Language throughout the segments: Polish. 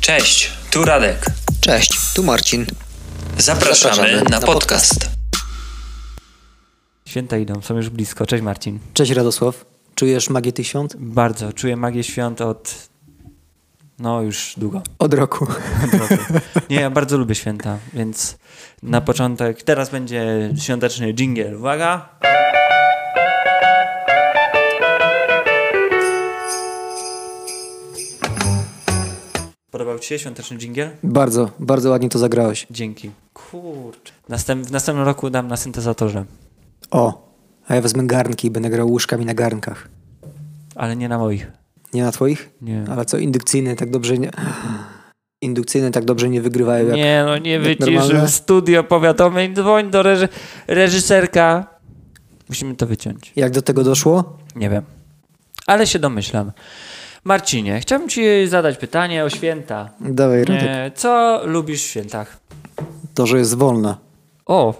Cześć, tu Radek. Cześć, tu Marcin. Zapraszamy, Zapraszamy na, na podcast. Święta idą, są już blisko. Cześć Marcin. Cześć Radosław. Czujesz magię tych świąt? Bardzo czuję magię świąt od. No, już długo. Od roku. Od roku. Nie, ja bardzo lubię święta, więc na początek. Teraz będzie świąteczny dżingiel. Uwaga! Podobał Ci się świąteczny dżingiel? Bardzo, bardzo ładnie to zagrałeś. Dzięki. Kurczę. Następ, w następnym roku dam na syntezatorze, O, a ja wezmę garnki i będę grał łóżkami na garnkach. ale nie na moich. Nie na twoich? Nie. Ale co, indukcyjne tak dobrze nie... Indukcyjne tak dobrze nie wygrywają jak... Nie, no nie normalne? wycisz studio powiadomień, dzwoń do reży- reżyserka. Musimy to wyciąć. Jak do tego doszło? Nie wiem. Ale się domyślam. Marcinie, chciałbym ci zadać pytanie o święta. Dawaj, Radek. E, co lubisz w świętach? To, że jest wolna. O,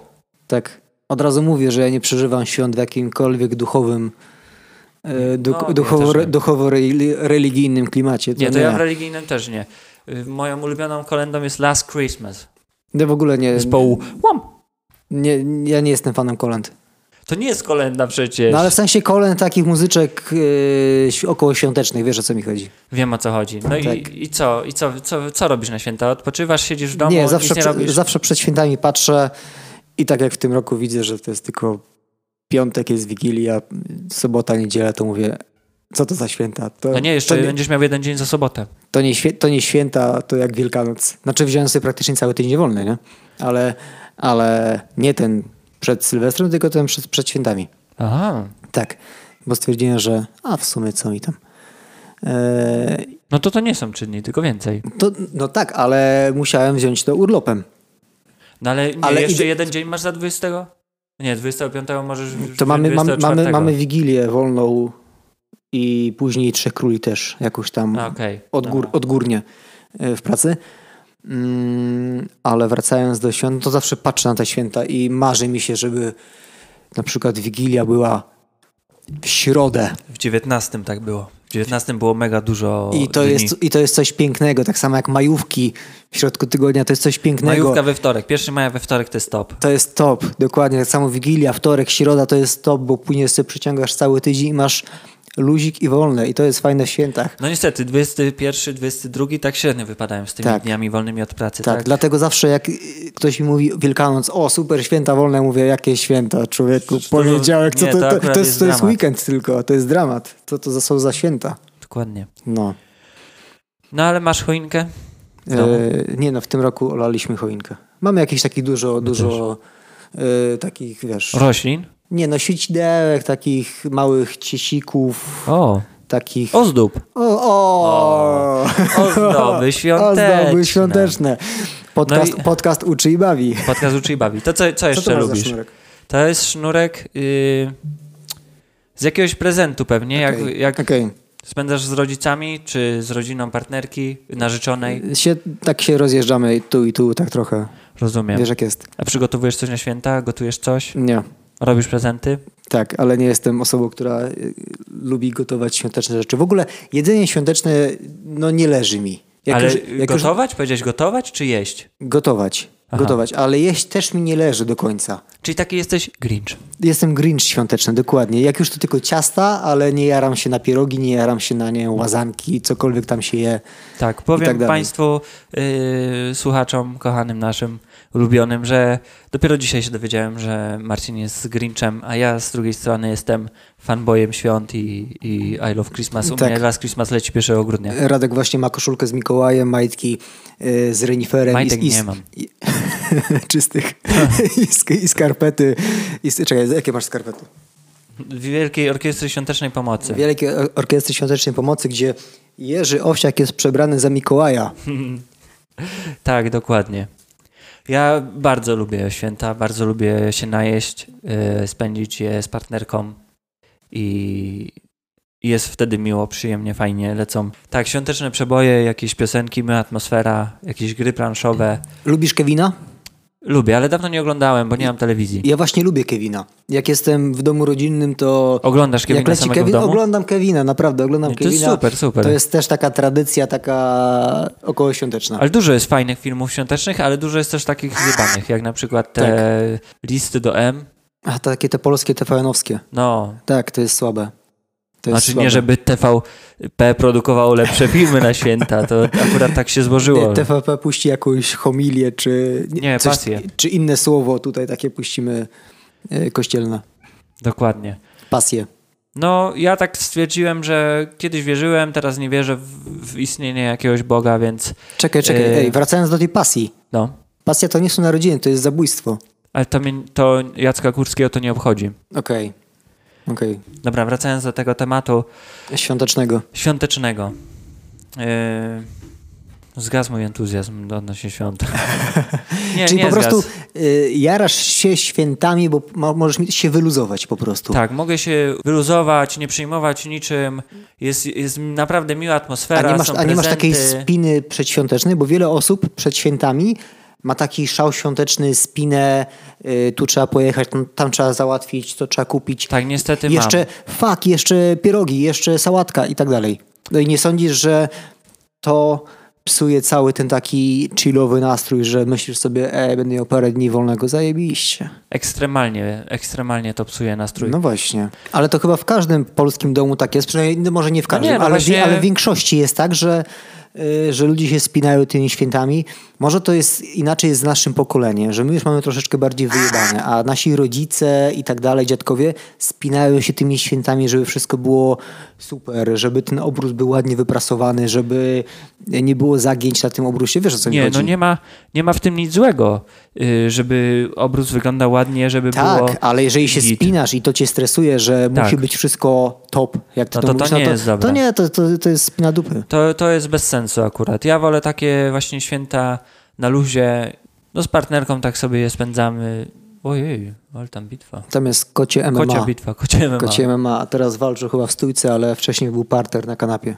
Tak. Od razu mówię, że ja nie przeżywam świąt w jakimkolwiek duchowym... e, du- No, ja duchowo, też nie. duchowo reli- religijnym klimacie. To nie, nie, to ja w religijnym też nie. Y, Moją ulubioną kolendą jest Last Christmas. Ja w ogóle Y, nie, Zespołu Łam. nie... Ja nie jestem fanem kolęd. To nie jest kolenda przecież. No ale w sensie kolęd takich muzyczek yy, okołoświątecznych, wiesz o co mi chodzi. Wiem o co chodzi. No Tak. i, i co? I co, co, co robisz na święta? Odpoczywasz, siedzisz w domu, nie, nic zawsze, nie prze- robisz? zawsze przed świętami patrzę i tak jak w tym roku widzę, że to jest tylko piątek, jest Wigilia, sobota, niedziela, to mówię, co to za święta? To, No nie, jeszcze to, nie, będziesz miał jeden dzień za sobotę. to, nie świę, to nie święta, to jak Wielkanoc. Znaczy wziąłem sobie praktycznie cały tydzień wolny, nie? Ale, ale nie ten przed Sylwestrem, tylko ten przed, przed świętami. Aha. Tak, bo stwierdziłem, że a w sumie co mi tam. Eee, No to to nie są trzy dni, tylko więcej. To, no tak, ale musiałem wziąć to urlopem. No ale, nie, Ale jeszcze idę- jeden dzień masz za 20? Nie, 25 możesz... w- To mamy, mamy, 24. mamy, mamy Wigilię wolną i później Trzech Króli też jakoś tam A, No, Okej. odgór, odgórnie e, w pracy. Mm, Ale wracając do świąt, to zawsze patrzę na te święta i marzy mi się, żeby na przykład Wigilia była w środę. W 19 tak było. W 19 było mega dużo I to, dni. jest, I to jest coś pięknego, tak samo jak majówki w środku tygodnia, to jest coś pięknego. Majówka we wtorek, 1 maja we wtorek to jest top. To jest top, dokładnie. Tak samo Wigilia, wtorek, środa to jest top, bo później sobie przyciągasz cały tydzień i masz luzik i wolne. I to jest fajne w świętach. No niestety, 21, 22 tak średnio wypadają z tymi Tak. dniami wolnymi od pracy, Tak, tak? dlatego zawsze jak y, ktoś mi mówi Wielkanoc, o super święta wolne, mówię jakie święta, człowieku, to- poniedziałek, co nie, to, to to, to, akurat jest, jest to jest dramat. weekend tylko, to jest dramat. Co to za, są za święta? Dokładnie. No. No ale masz choinkę? E, nie no, w tym roku olaliśmy choinkę. Mamy jakieś takich dużo, dużo e, takich, wiesz... Roślin? nie no, świecidełek, takich małych ciesików, O, takich... ozdób. O, o. Ozdoby świąteczne. Ozdoby świąteczne. Podcast, No i- podcast uczy i bawi. Podcast uczy i bawi. To co, co Co jeszcze to masz za lubisz? sznurek? To jest sznurek y, z jakiegoś prezentu pewnie, Okej, jak, jak okej. spędzasz z rodzicami, czy z rodziną partnerki, narzeczonej. Się, tak się rozjeżdżamy tu i tu, tak trochę. Rozumiem. Wiesz jak jest? A przygotowujesz coś na święta, gotujesz coś, Nie. robisz prezenty? Tak, ale nie jestem osobą, która y, lubi gotować świąteczne rzeczy. W ogóle jedzenie świąteczne no nie leży mi. Jak Ale już- jak już- gotować? Powiedziałeś gotować, czy jeść? Gotować. Aha. Gotować, ale jeść też mi nie leży do końca. Czyli taki jesteś grinch. Jestem grinch świąteczny, dokładnie. Jak już to tylko ciasta, ale nie jaram się na pierogi, nie jaram się na nie wiem, łazanki, cokolwiek tam się je. Tak, powiem tak dalej. Państwu, y, słuchaczom, kochanym naszym, ulubionym, że dopiero dzisiaj się dowiedziałem, że Marcin jest z Grinchem, a ja z drugiej strony jestem fanboyem świąt i, i I Love Christmas. U Tak. mnie Last Christmas leci 1 grudnia. Radek właśnie ma koszulkę z Mikołajem, majtki y, z reniferem. Majtek i, i, nie mam. I, czystych. I, sk- I skarpety. I, s- czekaj, jakie masz skarpety? Wielkiej Orkiestry Świątecznej Pomocy. Wielkiej Or- Orkiestry Świątecznej Pomocy, gdzie Jerzy Owsiak jest przebrany za Mikołaja. Tak, dokładnie. Ja bardzo lubię święta, bardzo lubię się najeść, y, spędzić je z partnerką i i jest wtedy miło, przyjemnie, fajnie, lecą. Tak, świąteczne przeboje, jakieś piosenki, miła atmosfera, jakieś gry planszowe. Lubisz Kevina? Lubię, ale dawno nie oglądałem, bo nie mam telewizji. Ja właśnie lubię Kevina. Jak jestem w domu rodzinnym, to Oglądasz Kevina jak leci samego w Kevin, domu? oglądam Kevina, naprawdę oglądam Nie, to jest Kevina. super, super. To jest też taka tradycja, taka okołoświąteczna. Ale dużo jest fajnych filmów świątecznych, ale dużo jest też takich zjebanych, jak na przykład te Tak. listy do M. A takie te polskie, te fajnowskie. No, Tak, to jest słabe. To jest znaczy słabe. nie, żeby TVP produkowało lepsze filmy na święta, to akurat tak się złożyło. TVP puści jakąś homilię, czy, Nie, coś, pasję. czy inne słowo tutaj takie puścimy e, kościelne. Dokładnie. Pasję. No, ja tak stwierdziłem, że kiedyś wierzyłem, teraz nie wierzę w, w istnienie jakiegoś Boga, więc Czekaj, czekaj, E. ej, wracając do tej pasji. no. Pasja to nie są narodziny, to jest zabójstwo. Ale to, mnie, to Jacka Kurskiego to nie obchodzi. Okej. Okej. Dobra, wracając do tego tematu Świątecznego. świątecznego. Yy, zgasł mój entuzjazm odnośnie świąt. Nie, Czyli nie po prostu zgasł. y, jarasz się świętami, bo ma, możesz mi- się wyluzować po prostu. Tak, mogę się wyluzować, nie przejmować niczym. Jest, jest naprawdę miła a atmosfera, nie, masz, są a nie masz takiej prezenty. spiny przedświątecznej, bo wiele osób przed świętami ma taki szał świąteczny, spinę, y, tu trzeba pojechać, tam, tam trzeba załatwić, to trzeba kupić. Tak, niestety jeszcze mam. fak, jeszcze pierogi, jeszcze sałatka i tak dalej. No i nie sądzisz, że to psuje cały ten taki chillowy nastrój, że myślisz sobie, e, będę miał parę dni wolnego, zajebiście. Ekstremalnie, ekstremalnie to psuje nastrój. No właśnie. Ale to chyba w każdym polskim domu tak jest, przynajmniej no może nie w każdym, nie, no ale, właśnie- w, ale w większości jest tak, że, y, że ludzie się spinają tymi świętami. Może to jest inaczej z naszym pokoleniem, że my już mamy troszeczkę bardziej wyjebane, a nasi rodzice i tak dalej, dziadkowie spinają się tymi świętami, żeby wszystko było super, żeby ten obróz był ładnie wyprasowany, żeby nie było zagięć na tym obrusie. Wiesz o co mi Nie, chodzi? no nie ma, nie ma w tym nic złego, y, żeby obróz wyglądał ładnie, żeby Tak, było... ale jeżeli się git. spinasz i to cię stresuje, że Tak. musi być wszystko top, jak ty No to, to to mówisz, nie no to, jest dobre. to nie, to, to, to jest spina dupy. To, to jest bez sensu akurat. Ja wolę takie właśnie święta na luzie. No z partnerką tak sobie je spędzamy. Ojej, ale tam bitwa. Tam jest kocie MMA. Kocia bitwa, kocie MMA. No Kocie MMA, a teraz walczył chyba w stójce, ale wcześniej był parter na kanapie.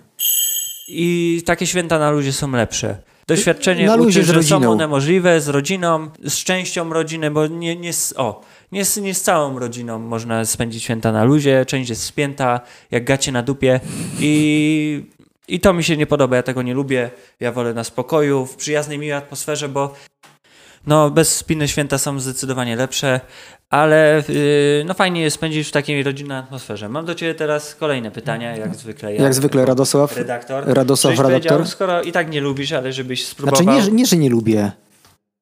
I takie święta na luzie są lepsze. Doświadczenie Na luzie uczy, że z są rodziną. one możliwe z rodziną, z częścią rodziny, bo nie, nie, z, o, nie, z, nie z całą rodziną można spędzić święta na luzie, część jest spięta, jak gacie na dupie i, i to mi się nie podoba, ja tego nie lubię, ja wolę na spokoju, w przyjaznej, miłej atmosferze, bo no, bez spiny święta są zdecydowanie lepsze, ale yy, no fajnie jest spędzić w takiej rodzinnej atmosferze. Mam do Ciebie teraz kolejne pytania, jak zwykle. ja- Jak zwykle Radosław, redaktor. Radosław, Żebyś redaktor. powiedział, Skoro i tak nie lubisz, ale żebyś spróbował. Znaczy nie, że- nie, że nie lubię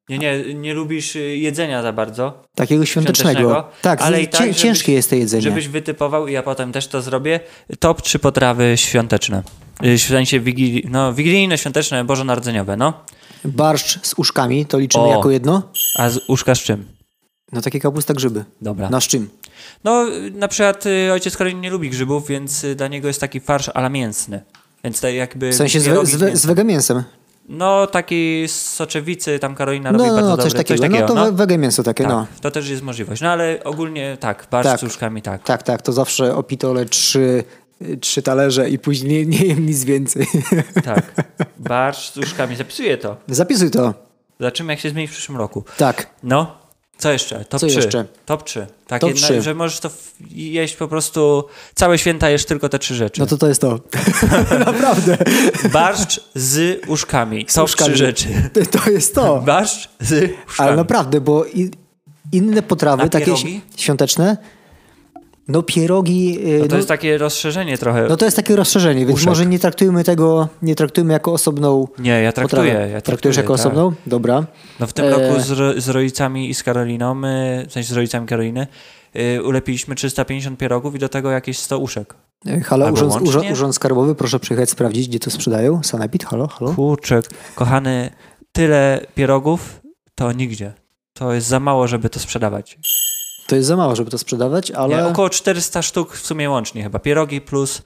nie, nie, nie lubisz y, jedzenia za bardzo, takiego świątecznego. Świątecznego, Tak, ale z- i tak, cię- żebyś- ciężkie jest to jedzenie. żebyś wytypował i ja potem też to zrobię. Top 3 potrawy świąteczne. Y, W sensie wigili... no, wigilijne, świąteczne, bożonarodzeniowe, no. Barszcz z uszkami, to liczymy O. jako jedno? A z uszka z czym? No takie kapusta grzyby. Dobra. No z czym? No, y, na przykład y, ojciec Karolin nie lubi grzybów, więc y, dla niego jest taki farsz ala mięsny. Więc tak jakby... W sensie z, we, pierogi z, we, mięsne. z wegemięsem. No, taki z soczewicy, tam Karolina No, robi no, bardzo no dobre. coś takiego. No to we- wegemięso takie, Tak, no. to też jest możliwość. No ale ogólnie tak, barsz Tak. z łóżkami tak. Tak, tak, to zawsze opitole trzy, trzy talerze i później nie jem nic więcej. Tak. Barsz z łóżkami. Zapisuję to. Zapisuj to. Zobaczymy jak się zmieni w przyszłym roku. Tak, No. Co jeszcze? Top Co 3. jeszcze? Top 3. Tak, Top jedna, trzy. że możesz to w- jeść po prostu całe święta jesz tylko te trzy rzeczy. no to to jest to. Naprawdę. Barszcz z łóżkami. Top Łóżkami. trzy rzeczy. To- To jest to. Barszcz z łóżkami. Ale no naprawdę, bo i, inne potrawy, A takie pierogi? świ- świąteczne, no pierogi, y, No to jest takie rozszerzenie trochę. no to jest takie rozszerzenie, więc Uszek. może nie traktujmy tego, nie traktujmy jako osobną Nie, ja traktuję. potrawę. Ja Traktujesz traktuję, jako tak. osobną? Dobra. No w tym E, roku z, ro- z rodzicami i z Karoliną, y, w sensie z rodzicami Karoliny, y, ulepiliśmy 350 pierogów i do tego jakieś 100 uszek. E, Halo, Albo urząd, łącznie? urząd, urząd Skarbowy, proszę przyjechać sprawdzić, gdzie to sprzedają. Sanepid, halo, halo. Kurczek, kochany, tyle pierogów to nigdzie. To jest za mało, żeby to sprzedawać. To jest za mało, żeby to sprzedawać, ale... Nie, około 400 sztuk w sumie łącznie chyba. Pierogi plus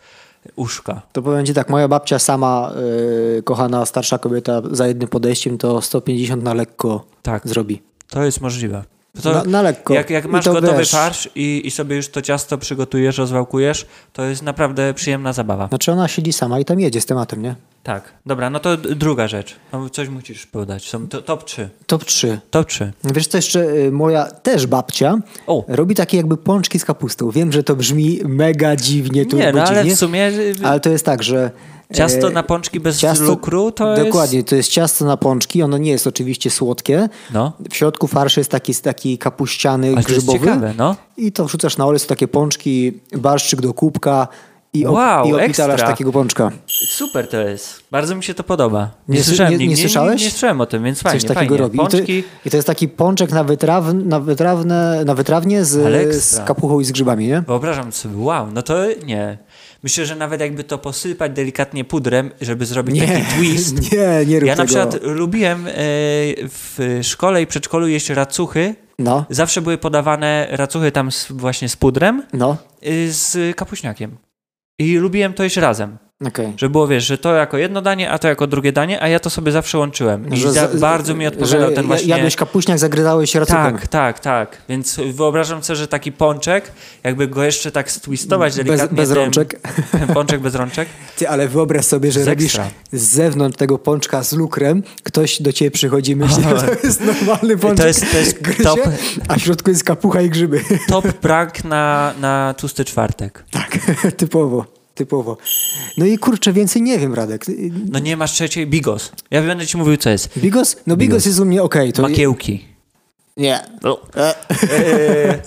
uszka. To powiem ci tak, moja babcia sama, y, kochana starsza kobieta, za jednym podejściem to 150 na lekko Tak, zrobi. to jest możliwe. To, na, na lekko. jak, jak I masz to gotowy wiesz, farsz i, i sobie już to ciasto przygotujesz, rozwałkujesz, to jest naprawdę przyjemna zabawa. Znaczy ona siedzi sama i tam jedzie z tematem, nie? Tak, dobra, no to d- druga rzecz. No, coś musisz podać. Są to, top 3. Top 3. Top 3. Wiesz co jeszcze, y, moja też babcia O. robi takie jakby pączki z kapustą. Wiem, że to brzmi mega dziwnie, tu Nie, no ale dziwnie, w sumie y, ale to jest tak, że... e, ciasto na pączki bez lukru to jest... Dokładnie, to jest ciasto na pączki, ono nie jest oczywiście słodkie. No, W środku farsz jest taki, taki kapuściany, ale to jest grzybowy. ciekawe, no. I to wrzucasz na olej, są takie pączki, barszczyk do kubka i, op- Wow, i opitalasz ekstra. takiego pączka. Super to jest. Bardzo mi się to podoba. Nie, Nie sy- słyszałem nie- nie nigdy. słyszałeś? Nie, nie słyszałem o tym, więc fajnie, Coś takiego fajnie. robi. I Pączki, to, I to jest taki pączek na, wytraw, na, wytrawne, na wytrawnie Ale z, ekstra. z kapuchą i z grzybami, nie? wyobrażam sobie, wow, no to nie. Myślę, że nawet jakby to posypać delikatnie pudrem, żeby zrobić taki twist. nie, nie rób Ja na tego. przykład lubiłem e, w szkole i przedszkolu jeść racuchy. No, Zawsze były podawane racuchy tam z, właśnie z pudrem, no, y, z kapuśniakiem. I lubiłem to jeść razem. okej. Że było, wiesz, że to jako jedno danie, a to jako drugie danie, a ja to sobie zawsze łączyłem. I Że za, za- bardzo mi odpowiadał że ten ja- właśnie... Jadłeś kapuśniak, zagryzałeś racuchem. Tak, tak, tak. Więc wyobrażam sobie, że taki pączek, jakby go jeszcze tak stwistować bez, delikatnie. bez tym- rączek. Ten pączek bez rączek. Ty, ale wyobraź sobie, że Z robisz ekstra. z zewnątrz tego pączka z lukrem, ktoś do ciebie przychodzi i myśli, że to jest normalny pączek. To jest- to jest Gryzie, top. A w środku jest kapucha i grzyby. Top prank na, na tłusty czwartek. Tak, typowo, typowo. No i kurczę, więcej nie wiem, Radek. No nie masz trzeciej, bigos. Ja będę ci mówił, co jest. Bigos? No Bigos, Bigos. jest u mnie okej. to Makiełki. Nie. No. E,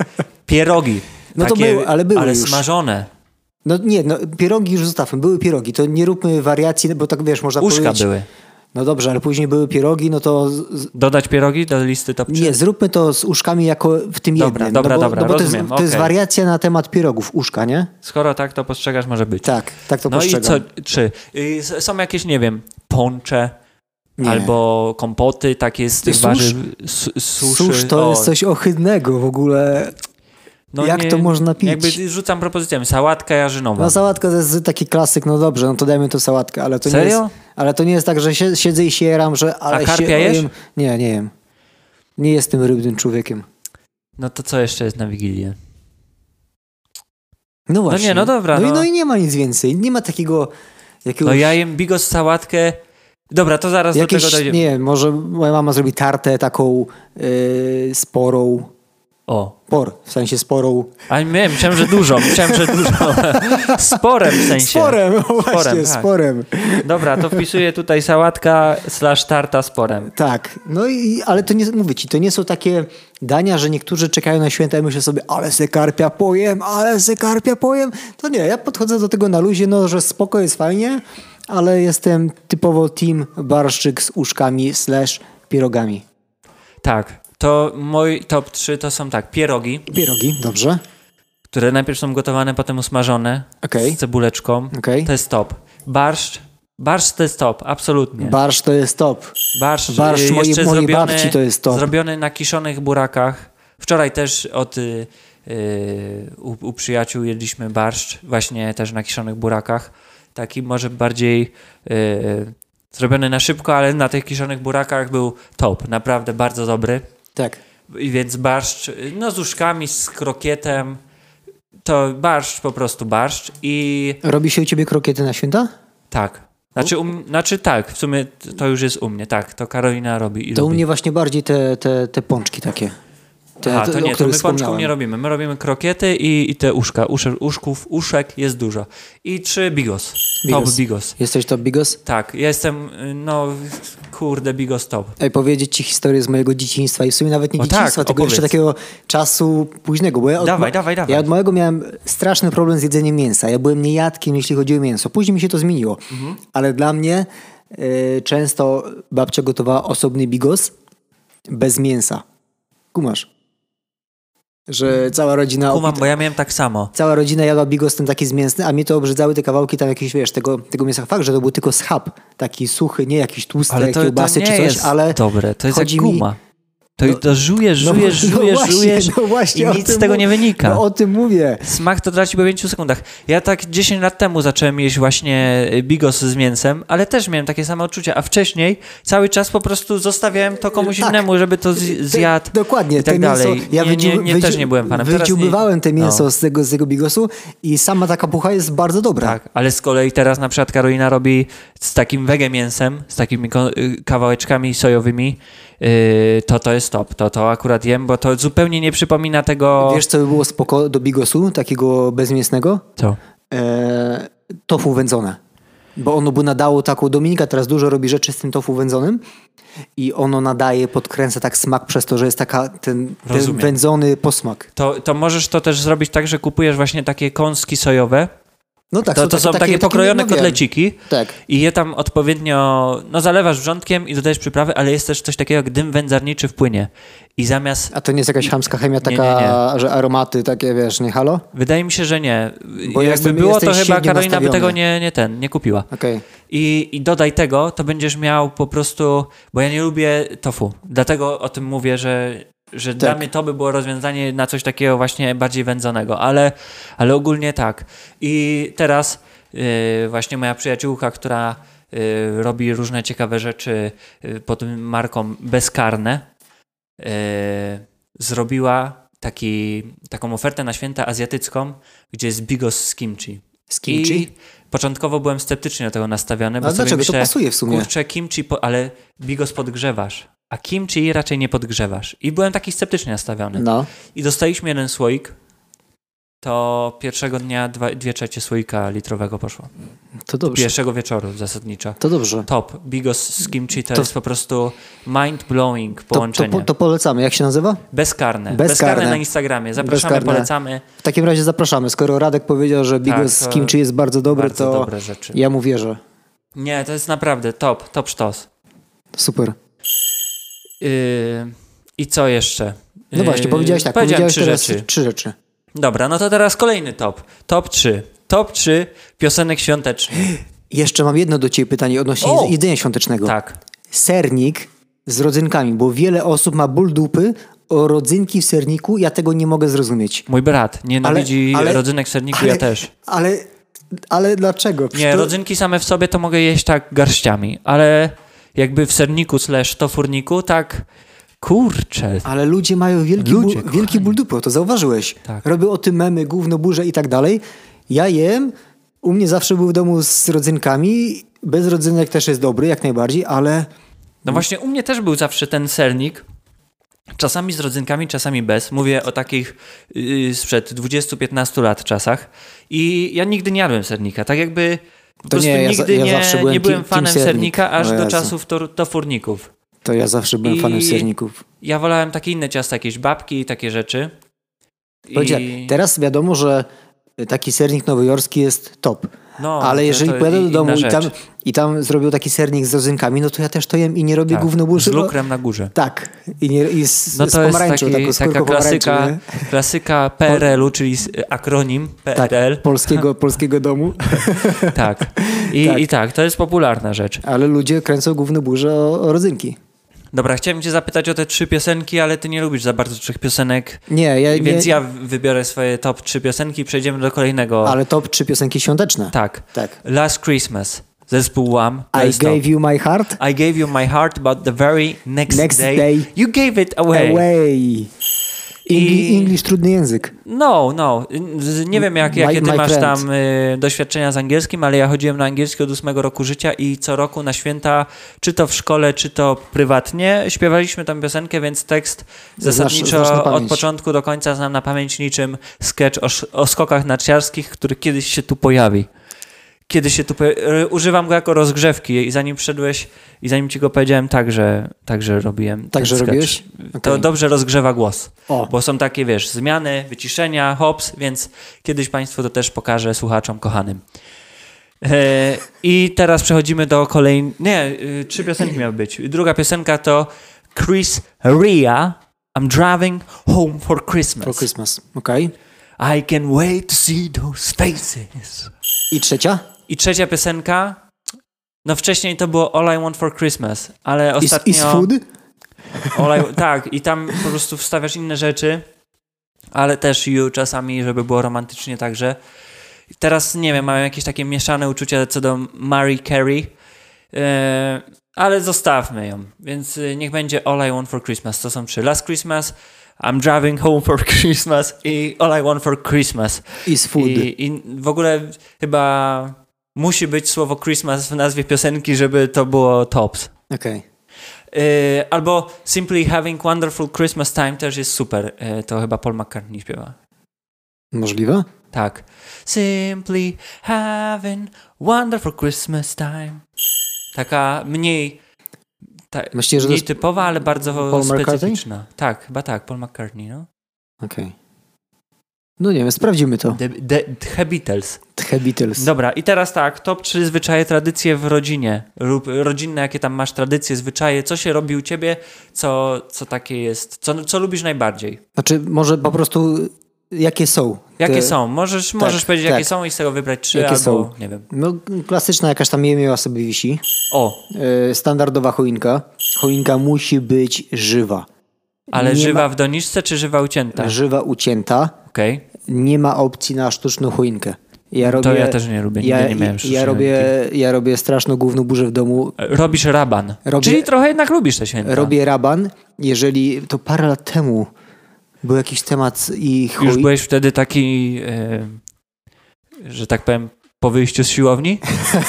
pierogi. No to były, ale były Ale już. smażone. No nie, no pierogi już zostawmy. Były pierogi, to nie róbmy wariacji, bo tak wiesz, można Uszka powiedzieć. były. No dobrze, ale później były pierogi, no to... Z, z, Dodać pierogi do listy top 3? nie, zróbmy to z uszkami jako w tym Dobra, jednym. dobra, no bo, dobra, no bo to, jest, rozumiem, to jest okej. wariacja na temat pierogów, uszka, nie? Skoro tak, to postrzegasz, może być. Tak, tak to No i postrzegam. co, czy y, s- są jakieś, nie wiem, poncze Nie. albo kompoty takie z tych Susz? warzyw? Su, suszy. Susz to O, No jest coś ohydnego w ogóle. jak to można pić? Jakby rzucam propozycję, sałatka jarzynowa. No sałatka to jest taki klasyk, no dobrze, no to dajmy tu sałatkę, ale to nie Serio? jest... Ale to nie jest tak, że sie- siedzę i sieram, że... Ale się- karpia jesz? jem- Nie, nie wiem. Nie jestem rybnym człowiekiem. No to co jeszcze jest na Wigilię? No właśnie. nie, no dobra, No, I, no. no i nie ma nic więcej. Nie ma takiego jakiegoś... No ja jem bigos, sałatkę. Dobra, to zaraz do jakieś, tego dojdziemy. nie wiem, może moja mama zrobi tartę taką yy, sporą. O, Por, w sensie sporą. a nie, myślałem, że dużo, myślałem, że dużo. Sporem w sensie. Sporem, o, właśnie, Sporem, tak. sporem. Dobra, to wpisuję tutaj sałatka slash tarta sporem. Tak, no i, ale to nie, mówię ci, to nie są takie dania, że niektórzy czekają na święta i myślą sobie, ale se karpia pojem, ale se karpia pojem. To nie, ja podchodzę do tego na luzie, no, że spoko jest fajnie, ale jestem typowo team barszczyk z uszkami slash pierogami. Tak, to mój top 3 to są tak, pierogi, Pierogi, dobrze, które najpierw są gotowane, potem usmażone Okej. z cebuleczką. Okej. To jest top. Barszcz, barszcz to jest top, absolutnie. barszcz to jest top. Barszcz, Barszcz y, mojej- jeszcze mojej zrobiony, babci to jest top. Zrobiony na kiszonych burakach. Wczoraj też od y, y, u, u przyjaciół jedliśmy barszcz, właśnie też na kiszonych burakach. Taki może bardziej y, zrobiony na szybko, ale na tych kiszonych burakach był top. Naprawdę bardzo dobry. Tak. I Więc barszcz, y, no z uszkami, z krokietem. To barszcz, po prostu barszcz. I Robi się u ciebie krokiety na święta? tak. Znaczy, um, znaczy tak, w sumie t- to już jest u mnie, tak, to Karolina robi i To u lubi. mnie właśnie bardziej te, te, te pączki takie. Te, A, to o nie, to my których pączków wspomniałem. nie robimy. My robimy krokiety i, i te uszka. Usz, uszków, uszek jest dużo. I trzy bigos. Bigos. Top bigos. Jesteś top bigos? Tak, ja jestem, y, no, kurde, bigos top. Ej, powiedzieć ci historię z mojego dzieciństwa i w sumie nawet nie O tak, dzieciństwa, tylko opowiedz. jeszcze takiego czasu późnego. Bo ja od, Dawaj, dawaj, dawaj. Ja od małego miałem straszny problem z jedzeniem mięsa. Ja byłem niejadkiem, jeśli chodzi o mięso. Później mi się to zmieniło. Mhm. Ale dla mnie y, często babcia gotowała osobny bigos bez mięsa. Kumasz? Że cała rodzina... Kumam, bo ja miałem tak samo. Cała rodzina jadła bigos ten taki zmięsny, a mnie to obrzydzały te kawałki tam jakieś, wiesz, tego, tego mięsa. Fakt, że to był tylko schab, taki suchy, nie jakiś tłusty, Ale jak to, to kiełbasy nie czy coś, jest ale dobre, to jest jak chodzi mi- guma. To, No- to żujesz, No, żujesz, no żujesz, właśnie, żujesz no właśnie i o nic tym z tego mów- nie wynika. No o tym mówię. Smak to traci po 5 sekundach. Ja tak 10 lat temu zacząłem jeść właśnie y, bigos z mięsem, ale też miałem takie same odczucia, a wcześniej cały czas po prostu zostawiałem to komuś Tak. innemu, żeby to z- zjadł. Te- Dokładnie, i tak te dalej. mięso. Ja nie, nie, wydziu- nie, wydziu- też nie byłem panem. Teraz nie- Wydziubywałem te mięso No, z, tego, z tego bigosu i sama taka pucha jest bardzo dobra. tak, ale z kolei teraz na przykład Karolina robi z takim wege mięsem, z takimi ko- y, kawałeczkami sojowymi, y, to to jest top. To to akurat jem, bo to zupełnie nie przypomina tego... Wiesz, co by było spoko do bigosu, takiego bezmięsnego? co? E, tofu wędzone. Bo ono by nadało taką... Dominika teraz dużo robi rzeczy z tym tofu wędzonym i ono nadaje, podkręca tak smak przez to, że jest taka ten, ten Rozumiem. wędzony posmak. To, to możesz to też zrobić tak, że kupujesz właśnie takie kąski sojowe. No tak, to, to są takie, pokrojone no wiem. kotleciki. Tak. I je tam odpowiednio, no zalewasz wrzątkiem i dodajesz przyprawy, ale jest też coś takiego jak dym wędzarniczy w płynie. I zamiast, A to nie jest jakaś chamska chemia Nie, nie, taka, że aromaty takie, wiesz, nie halo? wydaje mi się, że nie. Bo Jakby jestem- było, to jesteś chyba średnio Karolina by nastawiony. tego nie, nie ten, nie kupiła. Okej. I, I dodaj tego, to będziesz miał po prostu, bo ja nie lubię tofu. Dlatego o tym mówię, że, że dla Tak. mnie to by było rozwiązanie na coś takiego właśnie bardziej wędzonego, ale, ale ogólnie tak. I teraz yy, właśnie moja przyjaciółka, która yy, robi różne ciekawe rzeczy yy, pod marką Bezkarne, yy, zrobiła taki, taką ofertę na święta azjatycką, gdzie jest bigos z kimchi. Z kimchi? I początkowo byłem sceptycznie do tego nastawiony, bo A sobie dlaczego? myślę, to pasuje w sumie. kurczę, kimchi, po, ale bigos podgrzewasz, a kimchi raczej nie podgrzewasz. I byłem taki sceptycznie nastawiony. No. I dostaliśmy jeden słoik, to pierwszego dnia dwa, dwie trzecie słoika litrowego poszło. To dobrze. Pierwszego wieczoru zasadniczo. To dobrze. Top. Bigos z kimchi to, To- jest po prostu mind-blowing To, to, połączenie. po- to polecamy. Jak się nazywa? Bezkarne. Bezkarne. Bezkarne. na Instagramie. Zapraszamy, Bezkarne. polecamy. W takim razie zapraszamy. Skoro Radek powiedział, że bigos to z kimchi jest bardzo dobry, Tak, e, Bardzo to dobre rzeczy. ja mu wierzę. Nie, to jest naprawdę top, top sztos. Super. Yy, I co jeszcze? No właśnie, Yy, powiedziałeś tak. Powiedziałem Powiedziałeś trzy teraz rzeczy. trzy rzeczy. Dobra, no to teraz kolejny top. Top 3. Top 3 piosenek świątecznych. Jeszcze mam jedno do ciebie pytanie odnośnie O! jedzenia świątecznego. Tak. Sernik z rodzynkami, bo wiele osób ma ból dupy o rodzynki w serniku. Ja tego nie mogę zrozumieć. Mój brat nienawidzi rodzynek w serniku, ale- ja też. Ale, ale dlaczego? Przecież Nie, to- rodzynki same w sobie to mogę jeść tak garściami, ale jakby w serniku slash tofurniku, tak kurczę. Ale ludzie mają wielki, Ludzie, ból, wielki ból dupy, to zauważyłeś. Tak. Robią o tym memy, gówno, burze i tak dalej. Ja jem, u mnie zawsze był w domu z rodzynkami, bez rodzynek też jest dobry, jak najbardziej, ale No Hmm. właśnie u mnie też był zawsze ten sernik. Czasami z rodzynkami, czasami bez. Mówię o takich yy, sprzed 20-15 lat czasach. I ja nigdy nie jadłem sernika. Tak jakby po prostu nie, ja za- nigdy ja zawsze nie, byłem nie byłem team- team fanem sernik. No sernika aż O do Jezu. czasów to, to furników. to ja zawsze byłem fanem I- serników. Ja wolałem takie inne ciasta, jakieś babki i takie rzeczy. I- Powiedziałem, Teraz wiadomo, że taki sernik nowojorski jest top. No, ale to- jeżeli to pojadę do inna domu i rzecz. tam, i tam zrobił taki sernik z rodzynkami, no to ja też to jem i nie robię tak, gówno z burzy. bo- lukrem na górze. Tak. I, nie, i z, No z to jest pomarańczą, taki, taką skórką taka pomarańczy, klasyka, nie? klasyka PRL-u, czyli s- akronim Tak, PRL. polskiego, polskiego domu. Tak. I tak. Tak. I tak, to jest popularna rzecz. Ale ludzie kręcą główną burzę o, o rodzynki. Dobra, chciałem cię zapytać o te trzy piosenki, ale ty nie lubisz za bardzo trzech piosenek, E, Nie, ja, więc nie, ja w- wybiorę swoje top trzy piosenki i przejdziemy do kolejnego. Ale top trzy piosenki świąteczne. Tak. Tak. Last Christmas, zespół Wham, to I jest top. gave you my heart I gave you my heart, but the very next, Next day, you gave it away. away. Ingli, I- English trudny język. No, no. Z- Nie wiem, jak, My- jakie ty my masz friend. tam y, doświadczenia z angielskim, ale ja chodziłem na angielski od ósmego roku życia i co roku na święta, czy to w szkole, czy to prywatnie, śpiewaliśmy tą piosenkę, więc tekst Znasz- zasadniczo znasz na od pamięć. początku do końca znam na pamięć niczym sketch o, sz- o skokach narciarskich, który kiedyś się tu pojawi. Kiedy się tu. poja- y, Używam go jako rozgrzewki i zanim wszedłeś, i zanim ci go powiedziałem, także, także robiłem. ten Także sketch. robiłeś? To Okej. dobrze rozgrzewa głos. O. Bo są takie, wiesz, zmiany, wyciszenia, hops, więc kiedyś Państwu to też pokażę słuchaczom kochanym. E, I teraz przechodzimy do kolejnej. Nie, y, trzy piosenki miały być. Druga piosenka to Chris Ria. I'm driving home for Christmas. For Christmas. Okej. I can wait to see those faces. I trzecia? I trzecia piosenka. No wcześniej to było All I Want for Christmas, ale Is, ostatnio. is food? Olej, tak, i tam po prostu wstawiasz inne rzeczy, ale też ju czasami, żeby było romantycznie także. Teraz, nie wiem, mam jakieś takie mieszane uczucia co do Mary Carey, e, ale zostawmy ją. Więc e, niech będzie All I Want For Christmas. To są trzy. Last Christmas, I'm Driving Home For Christmas i All I Want For Christmas. Is food. I, I w ogóle chyba musi być słowo Christmas w nazwie piosenki, żeby to było tops. Okej. Yy, albo Simply Having Wonderful Christmas Time też jest super. Yy, to chyba Paul McCartney śpiewa. Możliwe? Tak. Simply having wonderful Christmas time. Taka mniej, ta, Myślisz, że to mniej jest typowa, ale bardzo Paul McCartney? specyficzna. Tak, chyba tak, Paul McCartney, no. Okej. No nie wiem, sprawdzimy to. The, the, the Beatles. The Beatles. Dobra, i teraz tak, top 3 zwyczaje, tradycje w rodzinie lub rodzinne, jakie tam masz tradycje, zwyczaje, co się robi u ciebie, co, co takie jest, co, co lubisz najbardziej. Znaczy, może po prostu jakie są? Jakie te- są? Możesz, możesz powiedzieć, tak. jakie są i z tego wybrać trzy Jakie albo, są? nie wiem. No, klasyczna jakaś tam jemioła sobie wisi. O, E, Standardowa choinka. Choinka musi być żywa. ale Nie żywa w doniczce czy żywa ucięta? Żywa, ucięta. Okej. Nie ma opcji na sztuczną choinkę. Ja robię, ja też nie lubię, nigdy nie miałem sztucznej ja robię, ja robię straszną główną burzę w domu. Robisz raban. Robię- Czyli trochę jednak lubisz te święta. Robię raban. Jeżeli to parę lat temu był jakiś temat i chuj. Już byłeś wtedy taki, e, że tak powiem, po wyjściu z siłowni?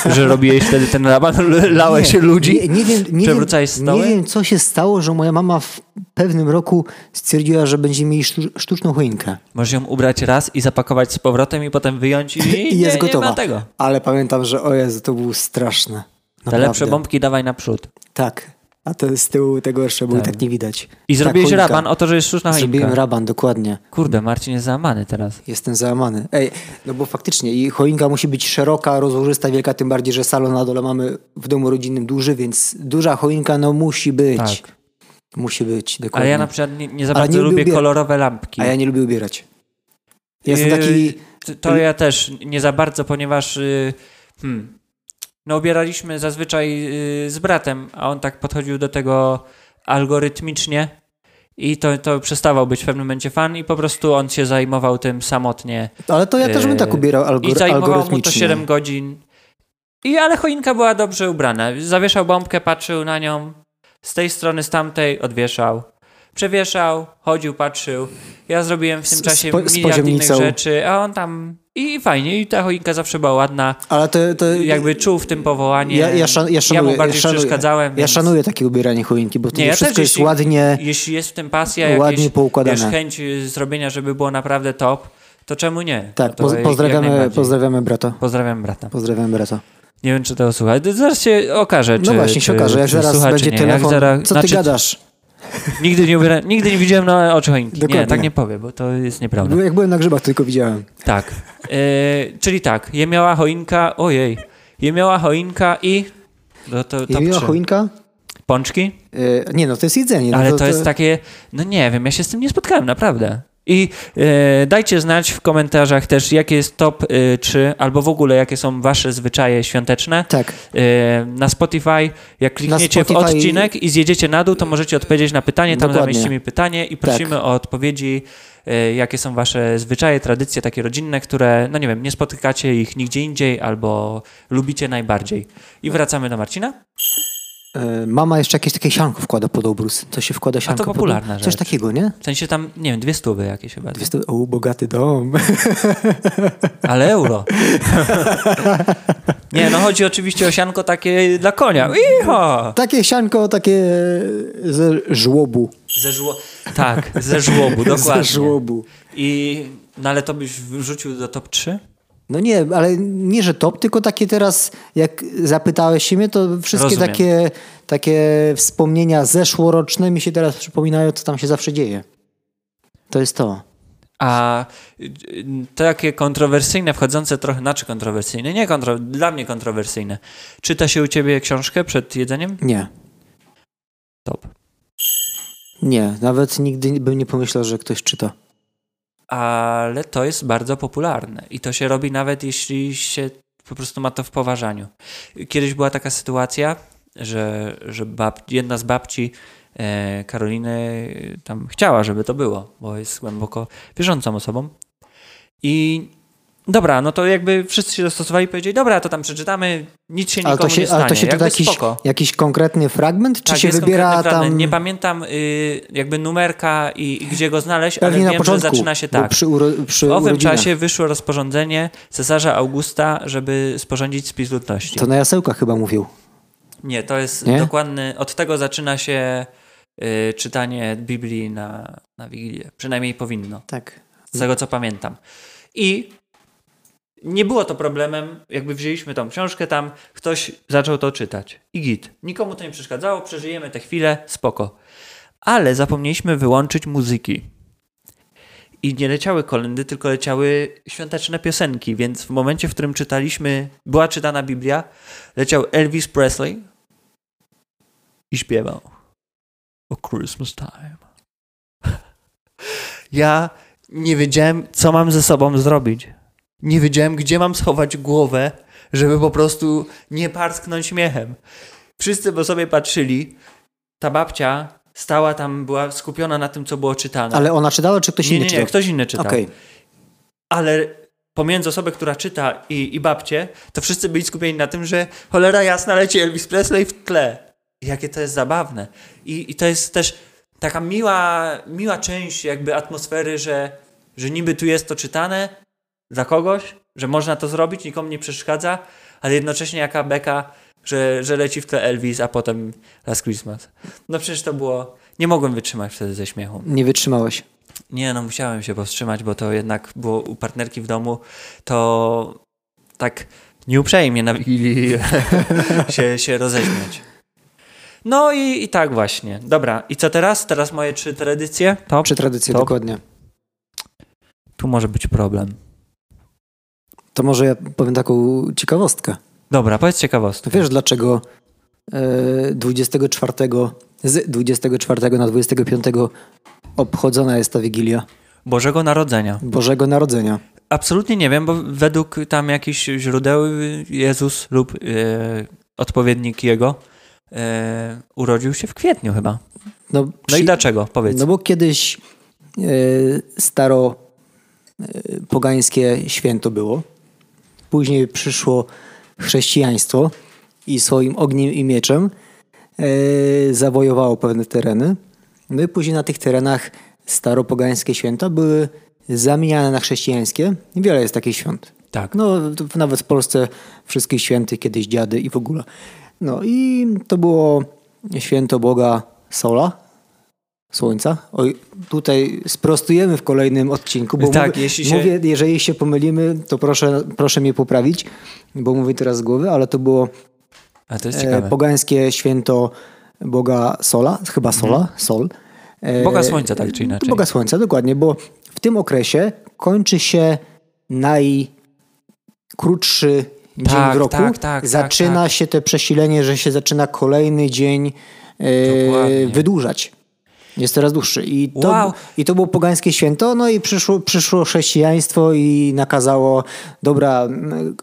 że robiłeś wtedy ten raban, lałeś się ludzi? Nie, nie, wiem, nie, wiem, Przewrócałeś stoły? nie wiem, co się stało, że moja mama w pewnym roku stwierdziła, że będzie mieli sztu- sztuczną choinkę. Możesz ją ubrać raz i zapakować z powrotem i potem wyjąć i, I nie, jest gotowa. nie ma tego. Ale pamiętam, że o Jezu, to było straszne. Te Naprawdę. lepsze bombki dawaj naprzód. Tak. A te z tyłu tego jeszcze było i tak nie widać. I Ta zrobiłeś choinka. raban o to, że jest sztuczna choinka. Zrobiłem raban, dokładnie. Kurde, Marcin jest załamany teraz. Jestem załamany. Ej, no bo faktycznie i choinka musi być szeroka, rozłożysta, wielka, tym bardziej, że salon na dole mamy w domu rodzinnym duży, więc duża choinka no musi być. Tak. Musi być, dokładnie. Ale ja na przykład nie, nie za Ale bardzo nie lubię lubię- kolorowe lampki. A ja nie lubię ubierać. Ja jestem Yy, taki... t- To ja też nie za bardzo, ponieważ yy, hmm, no ubieraliśmy zazwyczaj yy, z bratem, a on tak podchodził do tego algorytmicznie i to, to przestawał być w pewnym momencie fan i po prostu on się zajmował tym samotnie. Ale to ja też bym tak Yy, ubierał algor- I zajmowało mu to algorytmicznie. 7 godzin. I ale choinka była dobrze ubrana. Zawieszał bombkę, patrzył na nią. Z tej strony, z tamtej odwieszał. Przewieszał, chodził, patrzył. Ja zrobiłem w tym Z- czasie z po- miliard z innych poziomnicą. rzeczy, a on tam... I fajnie, i ta choinka zawsze była ładna. Ale to, to Jakby czuł w tym powołanie. ja, ja, szan, ja szanuję. mu bardziej ja szanuję, przeszkadzałem. Ja więc- szanuję takie ubieranie choinki, bo to Nie, ja wszystko też, jest jeśli- ładnie... Jeśli jest w tym pasja, jakieś, Ładnie poukładane. wiesz, chęć y, zrobienia, żeby było naprawdę top, to czemu nie? Tak, to poz- jak- jak pozdrawiamy, najbardziej. pozdrawiamy brata. Pozdrawiam brata. Pozdrawiamy brata. Nie wiem, czy tego słuchaj. Zaraz się okaże, czy No właśnie, się czy- okaże, jak czy zaraz słucha, będzie czy nie. telefon, Jak zaraz, co znaczy, ty gadasz? Nigdy nie, ubiera, nigdy nie widziałem na oczy choinki. Dokładnie. Nie, tak nie powiem, bo to jest nieprawda. No, Jak byłem na grzybach, tylko widziałem. Tak. E, czyli tak, jemioła choinka, ojej. Jemioła choinka i... No to, I top miła trzy. choinka? Pączki? Y, nie no, to jest jedzenie. no Ale to, jest takie... No nie wiem, ja się z tym nie spotkałem, naprawdę. I e, dajcie znać w komentarzach też, jakie jest top e, 3, albo w ogóle, jakie są wasze zwyczaje świąteczne. Tak, E, na Spotify, jak klikniecie w Spotify- odcinek i zjedziecie na dół, to możecie odpowiedzieć na pytanie, tam Dokładnie. Tak. zamieścimy pytanie i prosimy o odpowiedzi, e, jakie są wasze zwyczaje, tradycje takie rodzinne, które, no nie wiem, nie spotykacie ich nigdzie indziej albo lubicie najbardziej. I wracamy do Marcina. y, mama jeszcze jakieś takie sianko wkłada pod obrus. To się wkłada sianko pod- popularna Coś rzecz. takiego, nie? W sensie tam, nie wiem, dwie stówy jakieś chyba, Jest to, o, bogaty dom. ale euro. nie, no chodzi oczywiście o sianko takie dla konia. Iho! Takie sianko, takie ze żłobu. Ze żło... Tak, ze żłobu, dokładnie. Ze żłobu. I, no ale to byś wrzucił do top 3? No nie, ale nie, że top, tylko takie teraz, jak zapytałeś się mnie, to wszystkie Rozumiem. takie, takie wspomnienia zeszłoroczne mi się teraz przypominają, co tam się zawsze dzieje. To jest to. A y, y, takie kontrowersyjne, wchodzące trochę, znaczy kontrowersyjne, nie kontro, dla mnie kontrowersyjne. Czyta się u ciebie książkę przed jedzeniem? Nie. Top. Nie, nawet nigdy bym nie pomyślał, że ktoś czyta. Ale to jest bardzo popularne i to się robi nawet jeśli się po prostu ma to w poważaniu. Kiedyś była taka sytuacja, że, że bab, jedna z babci e, Karoliny e, tam chciała, żeby to było, bo jest głęboko wierzącą osobą. I dobra, no to jakby wszyscy się dostosowali i powiedzieli, dobra, to tam przeczytamy, nic się nikomu Ale to nie się, stanie. ale to się jakby czyta jakiś, spoko. jakiś konkretny fragment, czy Tak, się jest wybiera konkretny fragment. tam... Nie pamiętam y, jakby numerka i, i gdzie go znaleźć, ale Pewnie wiem, na początku, że zaczyna się bo tak. Przy uro, przy W owym urodzinach. czasie wyszło rozporządzenie cesarza Augusta, żeby sporządzić spis ludności. To na jasełkach chyba mówił. Nie, to jest Nie? dokładny. Od tego zaczyna się y, czytanie Biblii na, na Wigilię. Przynajmniej powinno, Tak. z tego co pamiętam. I nie było to problemem, jakby wzięliśmy tą książkę tam, ktoś zaczął to czytać. I git. Nikomu to nie przeszkadzało, przeżyjemy tę chwilę, spoko. Ale zapomnieliśmy wyłączyć muzyki. I nie leciały kolendy, tylko leciały świąteczne piosenki, więc w momencie, w którym czytaliśmy, była czytana Biblia, leciał Elvis Presley i śpiewał o Christmas time. Ja nie wiedziałem, co mam ze sobą zrobić. Nie wiedziałem, gdzie mam schować głowę, żeby po prostu nie parsknąć śmiechem. Wszyscy po sobie patrzyli. Ta babcia stała tam, była skupiona na tym, co było czytane. Ale ona czytała, czy ktoś nie, inny nie, nie, czytał? ktoś inny czytał Okej. ale pomiędzy osobę, która czyta i, i babcie, to wszyscy byli skupieni na tym, że cholera jasna leci Elvis Presley w tle. I Jakie to jest zabawne. I, i to jest też taka miła, miła część jakby atmosfery, że, że niby tu jest to czytane dla kogoś, że można to zrobić, nikomu nie przeszkadza, ale jednocześnie jaka beka, że, że leci w tle Elvis, a potem Last Christmas. No przecież to było... Nie mogłem wytrzymać wtedy ze śmiechu. Nie wytrzymałeś. Nie, no musiałem się powstrzymać, bo to jednak było u partnerki w domu, to tak nieuprzejmie na Wigilii się, się roześmiać. No i, i tak właśnie. Dobra, i co teraz? Teraz moje trzy tradycje? To? Przy tradycji, To- dokładnie. Tu może być problem. To może ja powiem taką ciekawostkę. Dobra, powiedz ciekawostkę. To wiesz, dlaczego e, 24, z 24 na 25 obchodzona jest ta Wigilia Bożego Narodzenia. Bożego Narodzenia? Absolutnie nie wiem, bo według tam jakichś źródeł Jezus lub e, odpowiednik Jego e, urodził się w kwietniu chyba. No, No i przy- dlaczego? Powiedz. No bo kiedyś e, staro e, pogańskie święto było. Później przyszło chrześcijaństwo i swoim ogniem i mieczem e, zawojowało pewne tereny. No i później na tych terenach staropogańskie święta były zamieniane na chrześcijańskie. Wiele jest takich świąt. Tak. No, to w- nawet w Polsce wszystkich świętych, kiedyś dziady i w ogóle. No i to było święto Boga Sola, Słońca. Oj, tutaj sprostujemy w kolejnym odcinku, bo Tak, mówię, jeśli się- mówię, jeżeli się pomylimy, to proszę, proszę mnie poprawić, bo mówię teraz z głowy, ale to było A to jest e, ciekawe. pogańskie święto Boga Sola, chyba Sola, Sol. E, Mhm. Boga Słońca, tak czy inaczej. Boga Słońca, dokładnie, bo w tym okresie kończy się najkrótszy dzień Tak, w roku. tak, tak, zaczyna tak, tak. się te przesilenie, że się zaczyna kolejny dzień e, Dokładnie. wydłużać. Jest coraz dłuższy. I to, Wow. I to było pogańskie święto, no i przyszło, przyszło chrześcijaństwo i nakazało, dobra, m,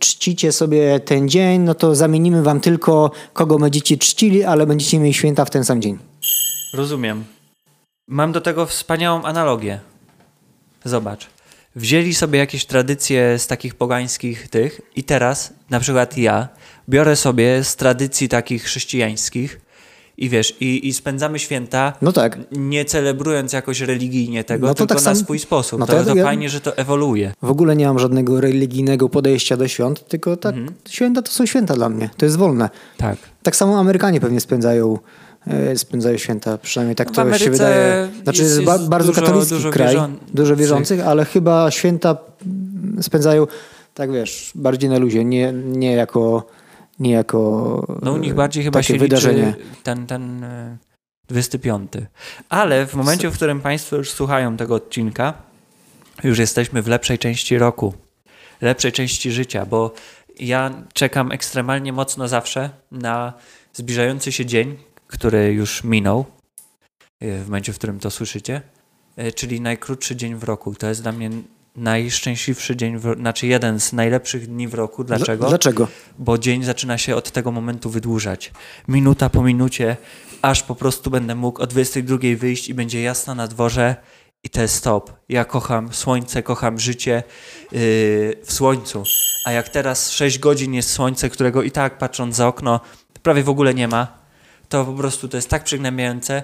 czcicie sobie ten dzień, no to zamienimy wam tylko, kogo będziecie czcili, ale będziecie mieli święta w ten sam dzień. Rozumiem. Mam do tego wspaniałą analogię. Zobacz. Wzięli sobie jakieś tradycje z takich pogańskich tych i teraz, na przykład ja, biorę sobie z tradycji takich chrześcijańskich i wiesz, i, i spędzamy święta No tak. nie celebrując jakoś religijnie tego, No to tylko tak na samo- swój sposób. no to to ja- to ja- fajnie, że to ewoluuje. W ogóle nie mam żadnego religijnego podejścia do świąt, tylko tak, Mhm. święta to są święta dla mnie, to jest wolne. Tak. Tak samo Amerykanie pewnie spędzają, e, spędzają święta, przynajmniej tak No w to Ameryce się wydaje. Znaczy jest- jest, ba- jest bardzo dużo- katolicki dużo kraj, wierzących. dużo wierzących, ale chyba święta mm, spędzają, tak wiesz, bardziej na luzie, nie, nie jako... Nie jako No u nich e, bardziej chyba takie się wydarzenie. liczy ten, ten e, 25. Ale w momencie, w którym Państwo już słuchają tego odcinka, już jesteśmy w lepszej części roku, lepszej części życia, bo ja czekam ekstremalnie mocno zawsze na zbliżający się dzień, który już minął, y, e, w momencie, w którym to słyszycie, e, czyli najkrótszy dzień w roku. To jest dla mnie najszczęśliwszy dzień, w, znaczy jeden z najlepszych dni w roku. Dlaczego? e, Dlaczego? Bo dzień zaczyna się od tego momentu wydłużać. Minuta po minucie, aż po prostu będę mógł o 22 wyjść i będzie jasno na dworze i to jest stop. Ja kocham słońce, kocham życie yy, w słońcu. A jak teraz 6 godzin jest słońce, którego i tak patrząc za okno prawie w ogóle nie ma, to po prostu to jest tak przygnębiające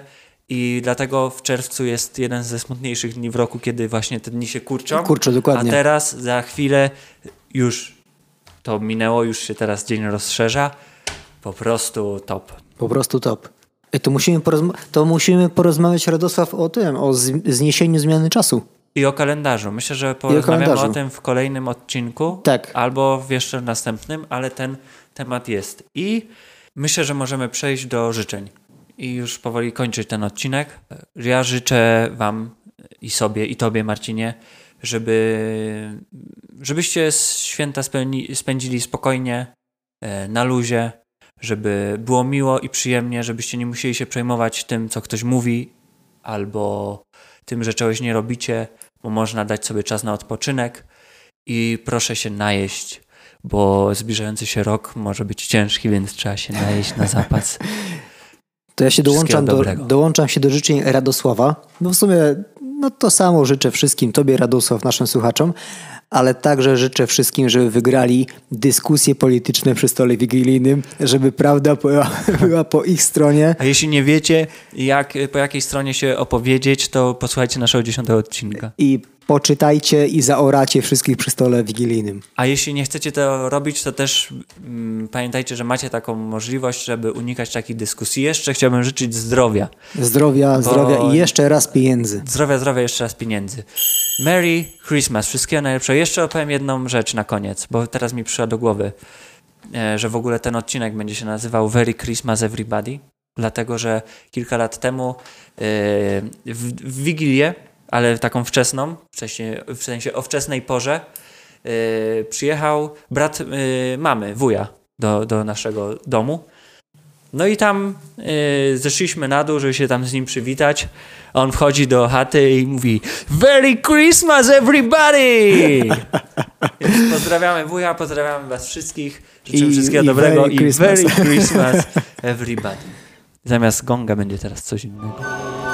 i dlatego w czerwcu jest jeden ze smutniejszych dni w roku, kiedy właśnie te dni się kurczą. Kurczę, dokładnie. A teraz za chwilę już to minęło, już się teraz dzień rozszerza. Po prostu top. Po prostu top. Ej, to, musimy porozma- to musimy porozmawiać, Radosław, o tym, o z- zniesieniu zmiany czasu. I o kalendarzu. Myślę, że porozmawiamy o, kalendarzu. tym w kolejnym odcinku. Tak. Albo w jeszcze następnym, ale ten temat jest. I myślę, że możemy przejść do życzeń. I już powoli kończyć ten odcinek. Ja życzę Wam i sobie, i Tobie, Marcinie, żeby, żebyście s- święta spełni, spędzili spokojnie, e, na luzie, żeby było miło i przyjemnie, żebyście nie musieli się przejmować tym, co ktoś mówi, albo tym, że czegoś nie robicie, bo można dać sobie czas na odpoczynek i proszę się najeść, bo zbliżający się rok może być ciężki, więc trzeba się najeść na zapas. To ja się dołączam do, dobrego. dołączam się do życzeń Radosława. No w sumie no to samo życzę wszystkim, tobie Radosław, naszym słuchaczom, ale także życzę wszystkim, żeby wygrali dyskusje polityczne przy stole wigilijnym, żeby prawda była, była po ich stronie. A jeśli nie wiecie, jak, po jakiej stronie się opowiedzieć, to posłuchajcie naszego dziesiątego odcinka. I poczytajcie i zaoracie wszystkich przy stole wigilijnym. A jeśli nie chcecie to robić, to też mm, pamiętajcie, że macie taką możliwość, żeby unikać takich dyskusji. Jeszcze chciałbym życzyć zdrowia. Zdrowia, zdrowia i jeszcze raz pieniędzy. Zdrowia, zdrowia, jeszcze raz pieniędzy. Merry Christmas, wszystkiego najlepszego. Jeszcze opowiem jedną rzecz na koniec, bo teraz mi przyszła do głowy, e, że w ogóle ten odcinek będzie się nazywał Merry Christmas Everybody, dlatego że kilka lat temu e, w, w Wigilię, ale taką wczesną, w sensie, w sensie o wczesnej porze, e, przyjechał brat e, mamy, wuja, do, do naszego domu. No i tam y, zeszliśmy na dół, żeby się tam z nim przywitać. A On wchodzi do chaty i mówi Merry Christmas everybody! Więc pozdrawiamy wuja, pozdrawiamy was wszystkich. Życzymy I- wszystkiego i dobrego Merry i Christmas. Merry Christmas everybody. Zamiast gonga będzie teraz coś innego.